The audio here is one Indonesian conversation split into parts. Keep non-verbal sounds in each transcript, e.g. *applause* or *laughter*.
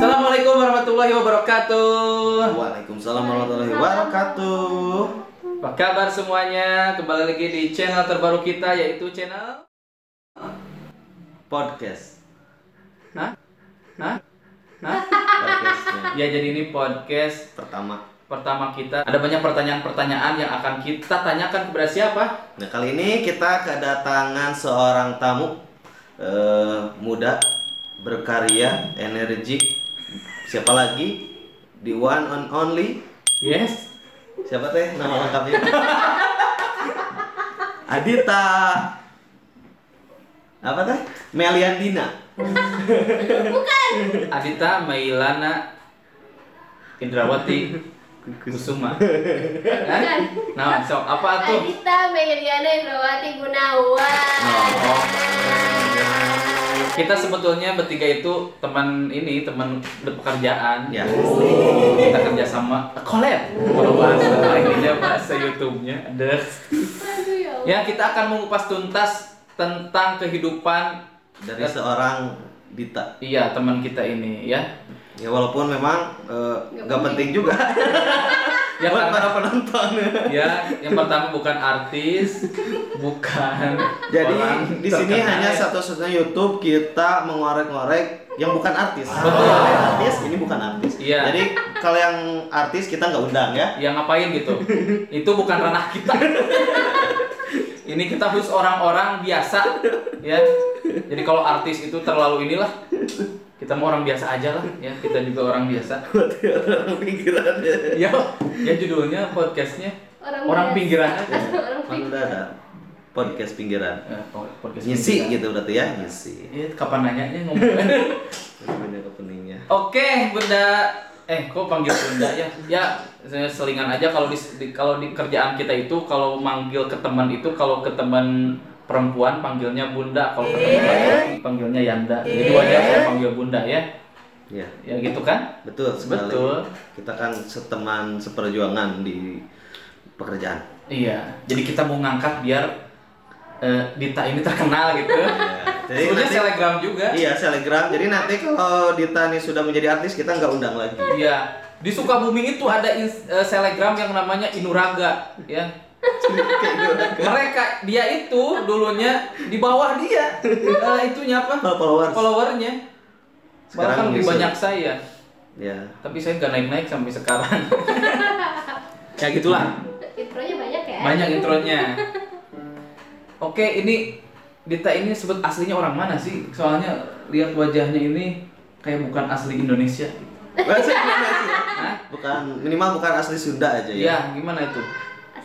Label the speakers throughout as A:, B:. A: Assalamualaikum warahmatullahi wabarakatuh.
B: Waalaikumsalam warahmatullahi wabarakatuh.
A: Apa kabar semuanya? Kembali lagi di channel terbaru kita yaitu channel
B: Podcast.
A: Nah. Nah. Nah.
B: Podcastnya
A: Ya jadi ini podcast
B: pertama.
A: pertama kita. Ada banyak pertanyaan-pertanyaan yang akan kita tanyakan kepada siapa?
B: Nah kali ini kita kedatangan seorang tamu eh, muda, berkarya, energik. Siapa lagi? The one and only.
A: Yes.
B: Siapa teh nama lengkapnya? Adita. Apa teh? Meliandina.
A: Adita Mailana Indrawati Kusuma. Hah? Nah, sok apa tuh?
C: Adita Meliana Indrawati Gunawan.
A: Nah.
B: Oh.
A: Kita sebetulnya bertiga itu teman ini, teman pekerjaan.
B: Ya.
A: Kita kerja sama collab. Kalau bahasa lainnya bahasa ya, YouTube-nya ada.
C: Aduh ya Allah.
A: Ya, kita akan mengupas tuntas tentang kehidupan
B: Dari seorang Dita.
A: iya teman kita ini ya.
B: Ya walaupun memang eh,
C: Nggak
B: nggak penting juga
A: Ya karena-
B: buat para penonton.
A: ya yang pertama bukan artis bukan
B: Jadi
A: orang
B: di sini
A: terkenal.
B: hanya satu-satunya YouTube kita mengorek-ngorek yang bukan artis.
A: Betul.
B: Kalau yang artis ini bukan artis.
A: Iya.
B: Jadi kalau yang artis kita nggak undang ya. *laughs*
A: yang ngapain gitu itu bukan ranah kita ini kita khusus orang-orang biasa ya jadi kalau artis itu terlalu inilah kita mau orang biasa aja lah ya kita juga orang biasa
B: Buat orang pinggiran.
A: ya ya judulnya podcastnya
C: Orang
A: orang
C: biasa.
A: pinggiran aja
C: Orang
B: Kan udah ada podcast pinggiran.
A: Eh, podcast
B: Ngisi
A: pinggiran.
B: gitu berarti ya, ngisi.
A: Iya, kapan nanyanya ngomong
B: Ini banyak openingnya.
A: Oke, Bunda. Eh, kok panggil Bunda ya? Ya, saya selingan aja kalau di, di- kalau di kerjaan kita itu kalau manggil ke teman itu kalau ke teman perempuan panggilnya Bunda, kalau ke teman laki panggilnya Yanda. Jadi wajar saya panggil Bunda ya.
B: Ya,
A: Ya gitu kan?
B: betul sekali.
A: Betul.
B: Kita kan seteman seperjuangan di pekerjaan.
A: Iya. Jadi kita mau ngangkat biar eh, Dita ini terkenal gitu.
B: Jadi
A: Sebenarnya
B: nanti-
A: selegram juga.
B: Iya, selegram. Jadi nanti kalau Dita nih sudah menjadi artis, kita nggak undang lagi.
A: Iya. Di Sukabumi itu ada ins- eh, selegram yang namanya Inuraga, ya. mereka dia itu dulunya di bawah dia Eh, itunya apa
B: Kalau followers.
A: followernya
B: Sekarang
A: bahkan lebih
B: nyusul.
A: banyak saya
B: Ya.
A: tapi saya nggak naik naik sampai sekarang *laughs* ya gitulah
C: Intronya banyak ya.
A: banyak intronya oke ini Dita ini sebut aslinya orang mana sih soalnya lihat wajahnya ini kayak bukan asli Indonesia
B: Bahasa Indonesia.
A: Hah?
B: Bukan minimal bukan asli Sunda aja ya.
A: Iya, gimana itu?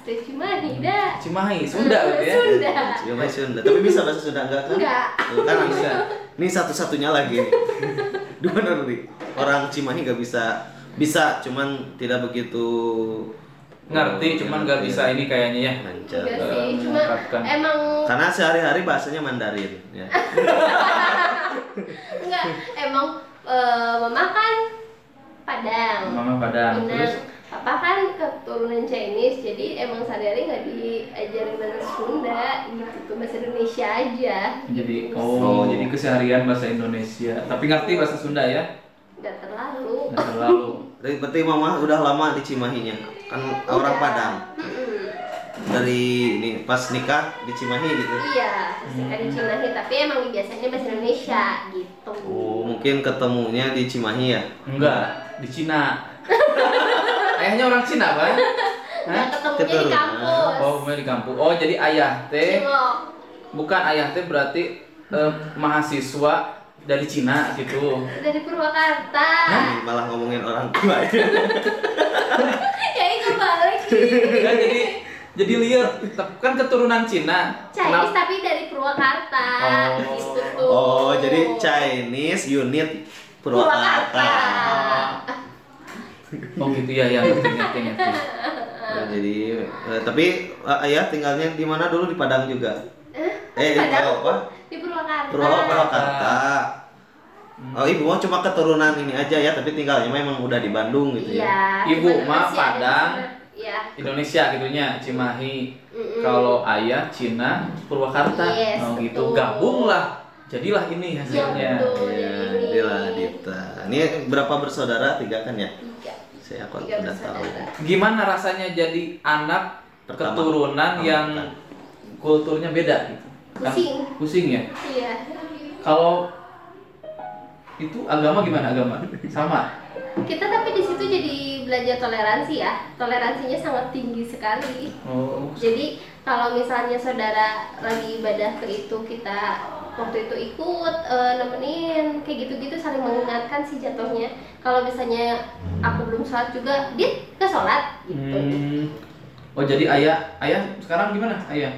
C: Asli Cimahi dah.
A: Cimahi, Sunda gitu ya.
C: Hmm, Sunda.
B: Cuma Iya. Sunda. Tapi bisa bahasa Sunda enggak kan?
C: Enggak.
B: Tuh, kan
A: Bisa.
B: bisa. Ini satu-satunya lagi. *laughs* Dua nih. Orang Cimahi nggak bisa bisa cuman tidak begitu oh,
A: Ngerti, cuman nggak bisa ini kayaknya ya.
B: Iya. lancar.
C: Enggak sih,
A: Eh,
C: cuma
A: mengungkapkan.
C: emang
B: Karena sehari-hari bahasanya Mandarin ya.
C: enggak emang eh, mama kan Padang.
A: Mama Padang,
C: Benar.
A: terus
C: Papa kan keturunan Chinese, jadi emang sehari-hari nggak diajarin bahasa Sunda, gitu bahasa Indonesia aja.
A: Jadi
C: Gitu.
A: oh,
B: Oh.
A: jadi keseharian bahasa Indonesia. Tapi ngerti bahasa Sunda ya?
C: nggak terlalu.
A: Nggak terlalu.
B: Berarti mama udah lama di Cimahinya. Kan
A: Nah,
B: orang Padang.
C: Mm-mm.
B: dari ini pas nikah di Cimahi gitu.
C: Iya, suka di Cimahi, tapi emang biasanya bahasa Indonesia gitu.
B: Oh, mungkin ketemunya di Cimahi ya.
A: Enggak, di
C: *laughs*
A: Cina. Ayahnya orang Cina, Bang? Hah?
C: Nah, ketemunya di
B: Keturunan.
C: kampus.
A: Oh, rumahnya di kampung. Oh, jadi ayah teh
C: Cilok.
A: bukan ayah teh berarti eh, mahasiswa dari Cina gitu.
C: Dari Purwakarta.
B: Ih, Malah ngomongin orang tua ya.
C: *laughs* ya itu balik.
A: *laughs* Ya, jadi jadi liar, Tep- kan keturunan Cina.
C: Chinese
A: Kenapa-
C: tapi dari Purwakarta.
A: Oh.
C: Gitu tuh.
B: Oh, jadi Chinese unit Purwakarta.
A: Oh gitu ya, ya ngerti ngerti ngerti.
B: Oh, jadi eh, tapi eh, ayah tinggalnya di mana dulu di Padang juga. Eh, di
C: Padang.
B: apa?
C: Di Purwakarta.
B: Purwa- Purwakarta. Oh, ibu mah cuma keturunan ini aja ya, tapi tinggalnya memang udah di Bandung gitu ya.
C: Iya.
A: Ibu
C: cuman
A: mah
C: masih ada
A: Padang,
C: di sana. Iya, ya
A: Indonesia gitunya Cimahi
C: Mm-mm.
A: kalau ayah Cina Purwakarta
C: Mm. Yes,
A: oh, gitu
C: betul.
A: gabunglah jadilah ini
C: ya
A: hasilnya
C: betul
B: Iya,
C: jadi
B: Dila
C: ini
B: Dita. Ini berapa bersaudara? Tiga kan ya?
C: tiga
B: Saya kok
C: tiga
B: udah tahu.
C: bersaudara
A: gimana rasanya jadi anak
B: Pertama.
A: keturunan
B: Pertama,
A: yang
B: kan.
A: kulturnya beda gitu Kan
C: Pusing.
A: pusing ya
C: iya
A: kalau itu agama gimana agama sama
C: kita tapi di situ jadi belajar toleransi ya toleransinya sangat tinggi sekali
A: oh
C: jadi kalau misalnya saudara lagi ibadah ke itu kita waktu itu ikut eh, nemenin kayak gitu-gitu saling mengingatkan sih jatuhnya kalau misalnya aku belum sholat juga dit ke sholat gitu
A: hmm. oh jadi ayah ayah sekarang gimana ayah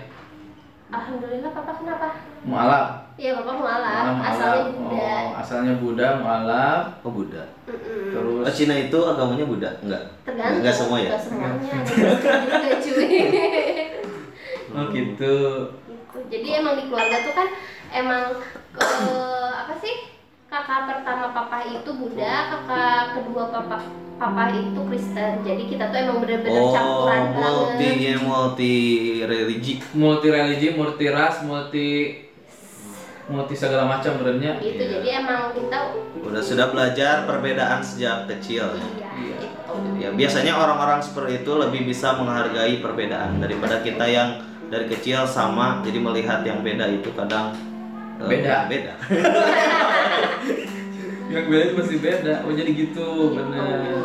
C: alhamdulillah papa kenapa
A: mualaf
C: ya papa mualaf
A: Mualaf, mualaf.
C: asalnya Buddha
A: oh asalnya Buddha mualaf
B: Oh Buddha.
C: Mm-mm.
A: terus
B: Oh Cina itu agamanya Buddha? Enggak.
C: tergantung
B: Enggak semua ya?
C: nggak semuanya nggak
A: *laughs*
C: cuy
A: oh gitu
C: gitu. Jadi emang di keluarga tuh kan emang eh, apa sih? Kakak pertama papa itu Buddha, kakak kedua papa papa itu Kristen. Jadi kita tuh emang bener-bener
B: Oh,
C: campuran
B: multi
C: banget.
B: multi religi.
A: multi religi multi ras multi multi segala macam kerennya
C: Gitu.
B: Iya.
C: Jadi emang kita
B: Udah sudah belajar perbedaan sejak kecil.
C: iya
A: Iya.
C: gitu.
B: Ya biasanya orang-orang seperti itu lebih bisa menghargai perbedaan daripada kita yang dari kecil sama jadi melihat yang beda itu kadang eh,
A: Beda.
B: beda.
A: yang beda itu pasti beda oh jadi gitu bener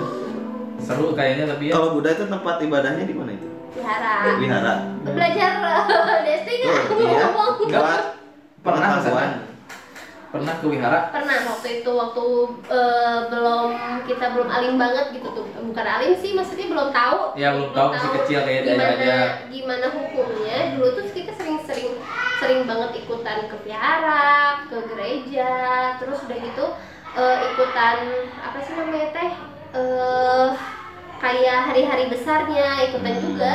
A: seru kayaknya tapi ya
B: Kalau Buddha itu tempat ibadahnya di mana itu?
C: Wihara.
B: Wihara.
C: Belajar *laughs* desti nggak Ah. aku mau
B: iya.
C: ngomong.
B: Buat
A: pernah ke sana
B: pengetahuan.
A: pernah ke wihara
C: Pernah waktu itu waktu eh, belum kita belum alim banget gitu tuh. Bukan alim sih, maksudnya belum tahu.
A: ya belum tahu masih kecil kayak ya,
C: gimana
A: aja
C: gimana hukumnya dulu tuh kita sering-sering sering banget ikutan ke vihara ke gereja terus udah gitu eh, ikutan apa sih namanya teh eh kayak hari-hari besarnya ikutan
A: Hmm.
C: juga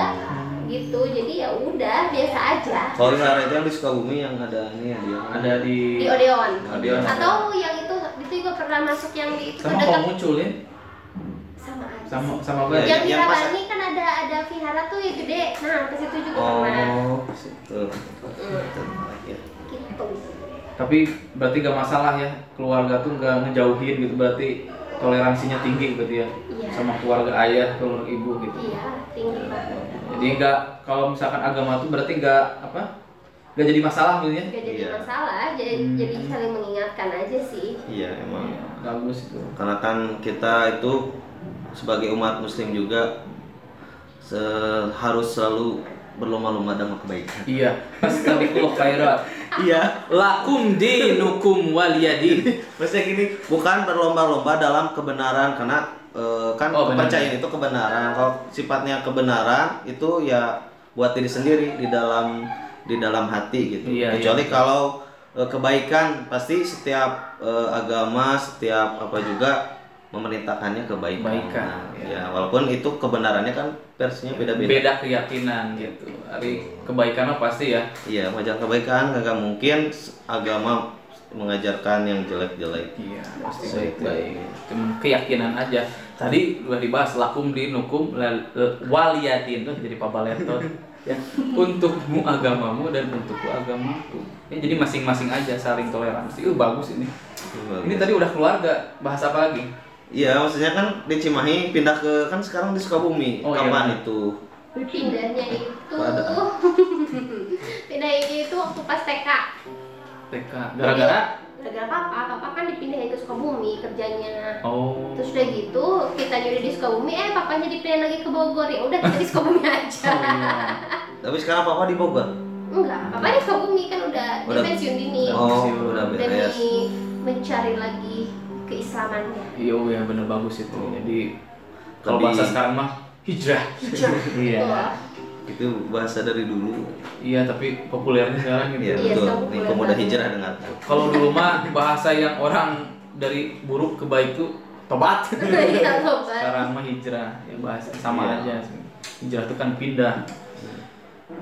C: gitu jadi ya udah biasa aja
B: Kalau Wihara itu yang di Sukabumi yang ada ini ya dia.
A: ada
C: di
A: di
C: Odeon
A: Iya. Odeon.
C: atau yang itu itu juga pernah masuk yang di itu
A: sama
C: dekat
A: kok munculin
C: sama aja
A: sama sama apa
B: Iya,
A: ya?
C: yang di
B: yang pas-
C: Rabani kan ada ada vihara tuh yang gede nah ke situ juga pernah
B: Oh, situ.
C: Mm,
B: Ya.
C: gitu
A: tapi berarti gak masalah ya keluarga tuh gak ngejauhin gitu berarti toleransinya tinggi berarti ya
C: Iya.
A: sama keluarga ayah keluarga ibu gitu
C: Iya, tinggi banget.
A: jadi nggak kalau misalkan agama tuh berarti nggak apa nggak jadi masalah gitu ya
C: Gak jadi
B: Iya.
C: masalah, jadi,
A: Hmm.
C: jadi saling mengingatkan aja sih.
B: Iya, emang.
A: bagus itu
B: karena kan kita itu sebagai umat muslim juga se- harus selalu berlomba-lomba dalam kebaikan
A: iya *laughs* astagfirullah khairat
B: iya
A: lakum dinukum waliyadin
B: maksudnya gini bukan berlomba-lomba dalam kebenaran karena eh, kan
A: Oh, benar.
B: kepercayaan itu kebenaran kalau sifatnya kebenaran itu ya buat diri sendiri di dalam di dalam hati gitu
A: Iya,
B: kecuali kalau eh, kebaikan pasti setiap eh, agama setiap apa juga memerintahkannya kebaikan
A: Kebaikan,
B: Nah,
A: iya.
B: ya walaupun itu kebenarannya kan versinya beda-beda
A: beda keyakinan gitu hari kebaikan mah pasti ya
B: iya macam kebaikan kagak mungkin s- agama mengajarkan yang jelek-jelek
A: Iya, pasti
B: Sesuai
A: baik-baik. Cuma keyakinan aja. Tadi udah dibahas lakum dinukum lal- l- waliyadin tuh jadi *laughs* pabaleto ya. Untukmu agamamu dan untukku agamaku. Ya, jadi masing-masing aja saling toleransi. Uh, bagus ini.
B: Gitu.
A: Ini tadi udah keluarga, bahas apa lagi?
B: Iya, maksudnya kan di Cimahi pindah ke kan sekarang di Sukabumi.
A: Oh, iya.
B: Kapan itu?
C: Pindahnya itu,
B: Wadah.
C: *laughs* pindahnya itu waktu pas TK.
A: TK. Gara-gara
C: Gara-gara papa, papa kan dipindahin ke Sukabumi kerjanya.
A: oh
C: Terus udah gitu, kita nyuruh di Sukabumi, eh papanya dipindahin lagi ke Bogor. Ya udah kita di Sukabumi *laughs* aja.
A: Oh, iya.
B: Tapi sekarang papa di Bogor.
C: Enggak, papa di Sukabumi kan udah,
B: Udah.
C: di pensiun dini.
B: Oh,
A: Pensiun.
B: udah
C: Demi
B: beres.
C: mencari lagi keislamannya.
A: *laughs* Iya, oh ya bener bagus itu. Jadi kalau bahasa
B: Lebih-
A: sekarang mah hijrah.
C: Hijrah.
A: *laughs* Iya.
C: Tuh.
B: Itu bahasa dari dulu.
A: Iya, tapi populernya sekarang gitu.
B: Iya,
C: Iya,
B: betul.
C: sekarang
B: Nih
C: populer
B: pemuda
C: banget.
B: hijrah dengarkan.
A: Kalau dulu mah bahasa yang orang dari buruk ke baik tuh tobat.
C: *laughs* Iya, tobat.
A: Sekarang mah hijrah, ya bahasa sama
B: Iya.
A: aja. Hijrah itu kan pindah.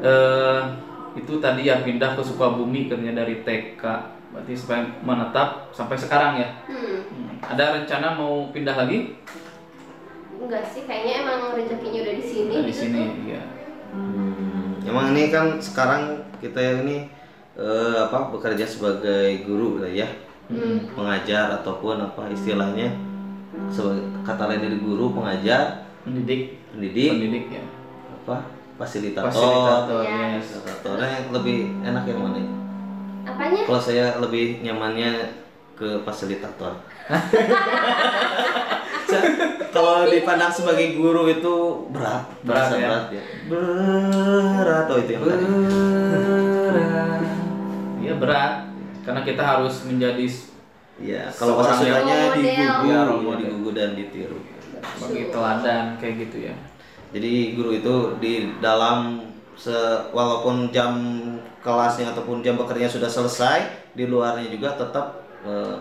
A: Eh itu tadi ya pindah ke Sukabumi kerja dari TK. Berarti supaya menetap sampai sekarang ya.
C: Hmm.
A: Hmm. Ada rencana mau pindah lagi?
C: Enggak sih, kayaknya emang rezekinya udah di sini
A: di
C: gitu
A: sini
C: tuh.
A: ya.
B: Hmm, emang ini kan sekarang kita ini eh, apa bekerja sebagai guru lah ya,
C: Hmm.
B: pengajar ataupun apa istilahnya sebagai kata lain dari guru, pengajar,
A: Pendidik,
B: pendidik,
A: pendidik ya.
B: apa fasilitator.
A: Fasilitator,
C: Ya.
A: yes.
B: Fasilitatornya yang lebih enak yang mana?
C: apanya
B: Kalau saya lebih nyamannya ke
A: *laughs*
B: fasilitator. Saya- Kalau dipandang sebagai guru itu berat,
A: Berat,
B: terasa
A: ya?
B: berat ya. Berat oh itu yang tadi.
A: Berat. Iya berat. Karena kita harus menjadi s-
B: Iya, kalau
A: Seorang
B: bahasa Sundanya
C: yang-
B: digugu, iya,
A: Ya, role model.
B: digugu dan ditiru.
A: bagi teladan kayak gitu ya.
B: Jadi guru itu di dalam se- walaupun jam kelasnya ataupun jam bekerjanya sudah selesai, di luarnya juga tetap eh,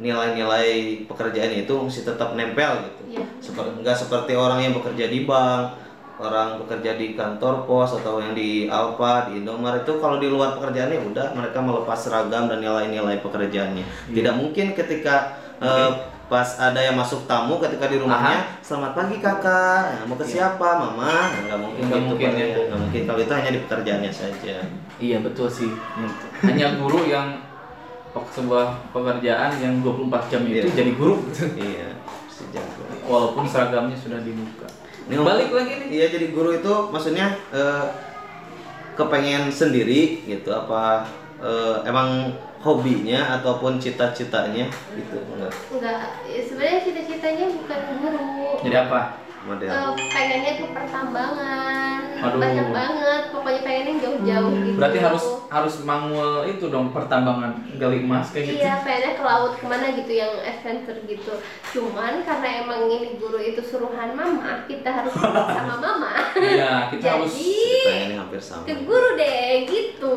B: nilai-nilai pekerjaannya itu mesti tetap nempel gitu.
C: Iya.
B: Seperti enggak seperti orang yang bekerja di bank, orang bekerja di kantor pos atau yang di Alfa, di Indomaret itu kalau di luar pekerjaannya udah mereka melepas seragam dan nilai-nilai pekerjaannya.
A: Iya.
B: Tidak mungkin ketika eh, pas ada yang masuk tamu ketika di rumahnya, selamat pagi kakak, Nah, mau ke siapa mama? Nah, Nggak mungkin
A: Iya. Nggak
B: gitu
A: mungkin,
B: Pak,
A: ya.
B: ya. Nggak mungkin kalau itu hanya di pekerjaannya
A: *laughs*
B: saja.
A: Iya betul sih. Hanya guru yang pek- sebuah pekerjaan yang 24 jam itu
B: Iya.
A: jadi guru.
B: iya, mesti jago.
A: Walaupun seragamnya sudah dibuka.
B: Ini
A: Balik
B: ngomong-
A: lagi nih.
B: Iya jadi guru itu maksudnya eh, kepengen sendiri gitu apa eh, emang hobinya ataupun cita-citanya gitu enggak
C: enggak ya, sebenarnya cita-citanya bukan guru
A: Jadi apa?
B: model.
C: Eh, pengennya ke pertambangan
A: Ya. Aduh. Hmm.
C: banyak banget pokoknya pengennya yang jauh-jauh gitu
A: Berarti harus harus mangul itu dong pertambangan gali emas kayak gitu.
C: Iya, pengennya ke laut kemana gitu yang adventure gitu. Cuman karena emang ini guru itu suruhan mama, kita harus nurut
A: *laughs*
C: sama mama.
A: Iya, kita harus
C: Jadi
B: Pengennya hampir sama.
C: ke guru deh gitu.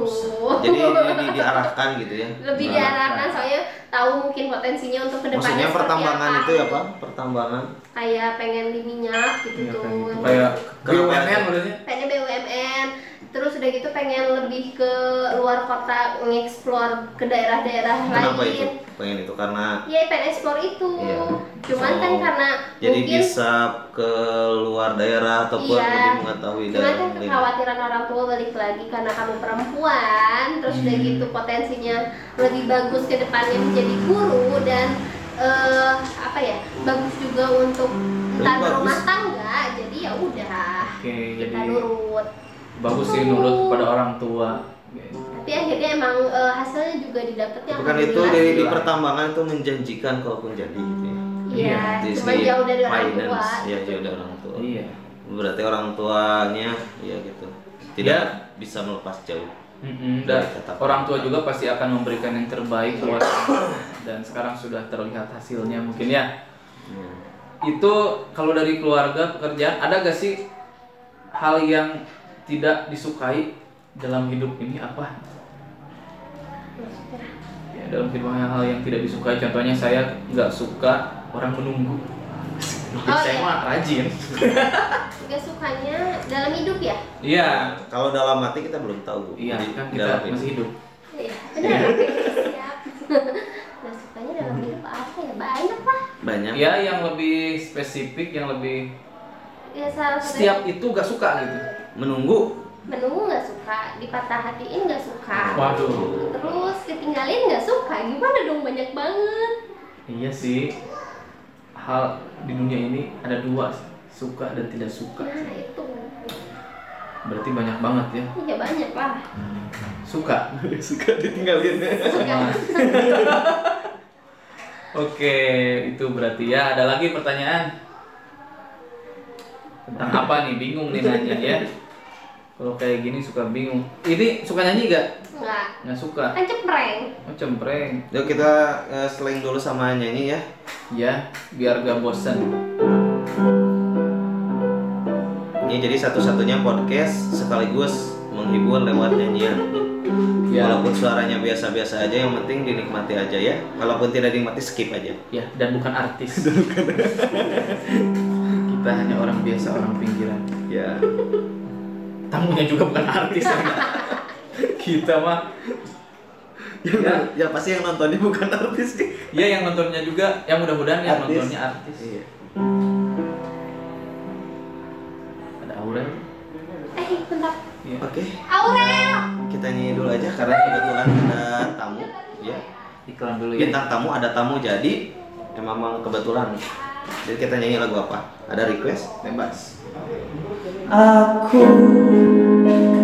B: Jadi di- di- diarahkan gitu ya.
C: Lebih
B: Nah,
C: diarahkan soalnya tahu mungkin potensinya untuk kedepannya
B: Maksudnya
C: seperti
B: pertambangan itu ya pak? Pertambangan.
C: Kayak pengen di minyak gitu
A: Iya,
C: tuh.
A: kayak gitu. Kayak
B: Kenapa
A: BUMN
B: itu?
A: maksudnya.
C: pengen BUMN terus udah gitu pengen lebih ke luar kota nge-explore ke daerah-daerah
B: Kenapa
C: lain
B: itu? Pengen itu karena
C: ya pengen explore itu
B: Iya.
C: cuman
B: Oh.
C: kan karena
B: jadi
C: mungkin
B: bisa ke luar daerah ataupun
C: Iya.
B: lebih mengetahui
C: cuman
B: daerah
C: kan
B: lain.
C: kekhawatiran orang tua balik lagi karena kamu perempuan terus udah
B: Hmm.
C: gitu potensinya lebih bagus ke depannya menjadi guru dan eh, apa ya bagus juga untuk
B: Lebih
C: tentang
B: bagus.
C: rumah tangga jadi ya udah
A: Oke,
C: kita
A: jadi
C: nurut
A: bagus sih nurut kepada orang tua.
C: tapi akhirnya emang eh, hasilnya juga didapat yang
B: Bukan itu di, di pertambangan itu menjanjikan kalaupun jadi gitu ya.
C: Iya,
B: Di
C: cuma
B: segi
C: jauh dari orang tua.
B: finance, ya jauh dari orang tua.
A: Iya.
B: Berarti orang tuanya ya gitu. Tidak
A: Ya.
B: bisa melepas jauh.
A: Mm-mm, dan
B: Tetap.
A: orang tua juga pasti akan memberikan yang terbaik buat anak. dan sekarang sudah terlihat hasilnya mungkin ya
B: Hmm.
A: itu kalau dari keluarga pekerjaan ada gak sih hal yang tidak disukai dalam hidup ini apa ya, dalam hidup hal yang tidak disukai contohnya saya nggak suka orang menunggu
C: Oh,
A: saya
C: iya.
A: mah rajin
C: Gak sukanya dalam hidup ya?
A: iya
B: Nah, Kalau dalam hati kita belum tahu. Bu.
A: iya
B: Jadi
A: kan
B: dalam
A: kita
B: ini.
A: masih hidup
C: Iya, benar. Siap. *laughs* Gak sukanya dalam hidup apa ya? Banyak lah.
B: banyak.
A: ya yang lebih spesifik yang lebih
C: Ya salah satu
A: setiap itu gak suka gitu
B: Menunggu.
C: menunggu nggak suka, dipatah hatiin nggak suka,
A: waduh
C: terus ketinggalin nggak suka. Gimana dong banyak banget.
A: Iya sih. Hal di dunia ini ada dua sih, suka dan tidak suka.
C: Nah itu,
A: Berarti banyak banget ya.
C: iya banyak lah.
A: *laughs* Suka.
B: Suka ditinggalin.
C: Suka.
A: Sama. *laughs* Oke, itu berarti ya. Ada lagi pertanyaan? Tentang apa nih? Bingung nih nanya ya. Kalau kayak gini suka bingung. Ini suka nyanyi gak?
C: Nggak.
A: Nggak suka.
C: Kan cepreng.
A: Oh, cempreng.
B: Yuk kita eh, seling dulu sama nyanyi ya.
A: Ya, biar gak bosen.
B: Ini jadi satu-satunya podcast sekaligus menghibur lewat nyanyian.
A: Ya,
B: Walaupun suaranya biasa-biasa aja, yang penting dinikmati aja ya. Walaupun tidak dinikmati, skip aja.
A: ya *laughs* dan bukan artis. Kita hanya orang biasa, orang pinggiran. Iya.
B: Ya.
A: tamunya juga bukan artis ya nggak? kita mah
B: ya, ya pasti yang nontonnya bukan artis sih.
A: ya yang nontonnya juga Kan yang
B: Iya.
A: mudah-mudahan yang
B: Artis.
A: nontonnya artis
B: Iya.
A: ada Aurel.
C: Eh, bentar.
A: Iya.
B: Oke,
C: Aurel.
B: kita nyanyi dulu aja karena kebetulan ada tamu, ya.
A: Iklan dulu ya.
B: Bintang tamu ada tamu jadi emang kebetulan. Jadi kita nyanyi lagu apa? Ada request?
A: Bebas.
D: Aku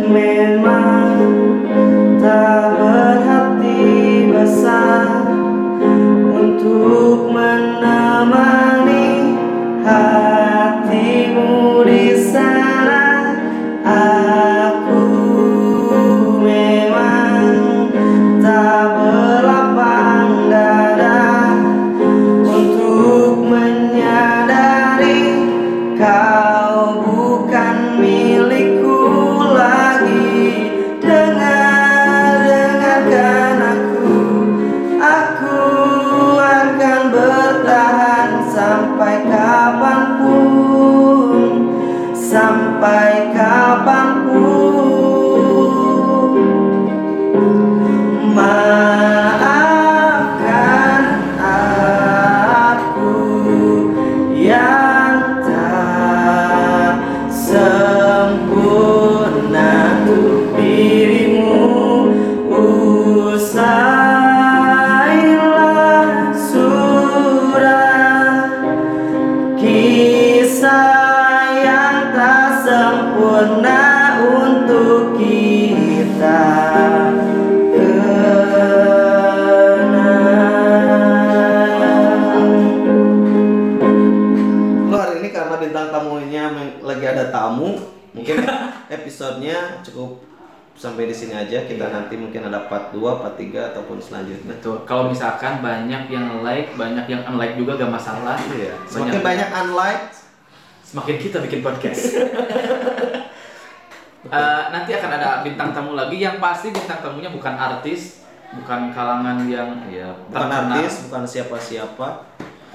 D: memang tak berhati besar untuk menemani hatimu di sana. Aku memang tak berlapang dada untuk menyadari kau bukan milikku lagi. Dengar, dengarkan aku, aku akan bertahan sampai kapanpun, sampai kapanpun. Maafkan aku yang tak sempurna untuk dirimu Usailah sudah Kisah yang tak sempurna untuk kita kenang.
B: Lo hari ini karena bintang tamunya men- lagi ada tamu, *laughs* mungkin episodenya cukup sampai di sini aja. Kita nanti mungkin ada part 2, part 3 ataupun selanjutnya.
A: Betul. Kalau misalkan banyak yang like, banyak yang unlike juga gak masalah.
B: Iya. Semakin banyak unlike,
A: Semakin kita bikin podcast. Eh, nanti akan ada bintang tamu lagi yang pasti bintang tamunya bukan artis, bukan kalangan yang
B: ya, bukan
A: terkenal.
B: artis, bukan siapa-siapa.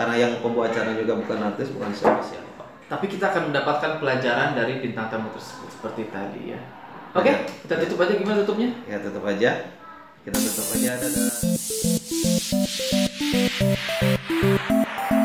B: Karena yang pembawa acara juga bukan artis, bukan siapa-siapa.
A: Tapi kita akan mendapatkan pelajaran dari bintang tamu tersebut seperti tadi ya. Oke, kita tutup aja gimana tutupnya?
B: Ya tutup aja. Kita tutup aja. Dadah.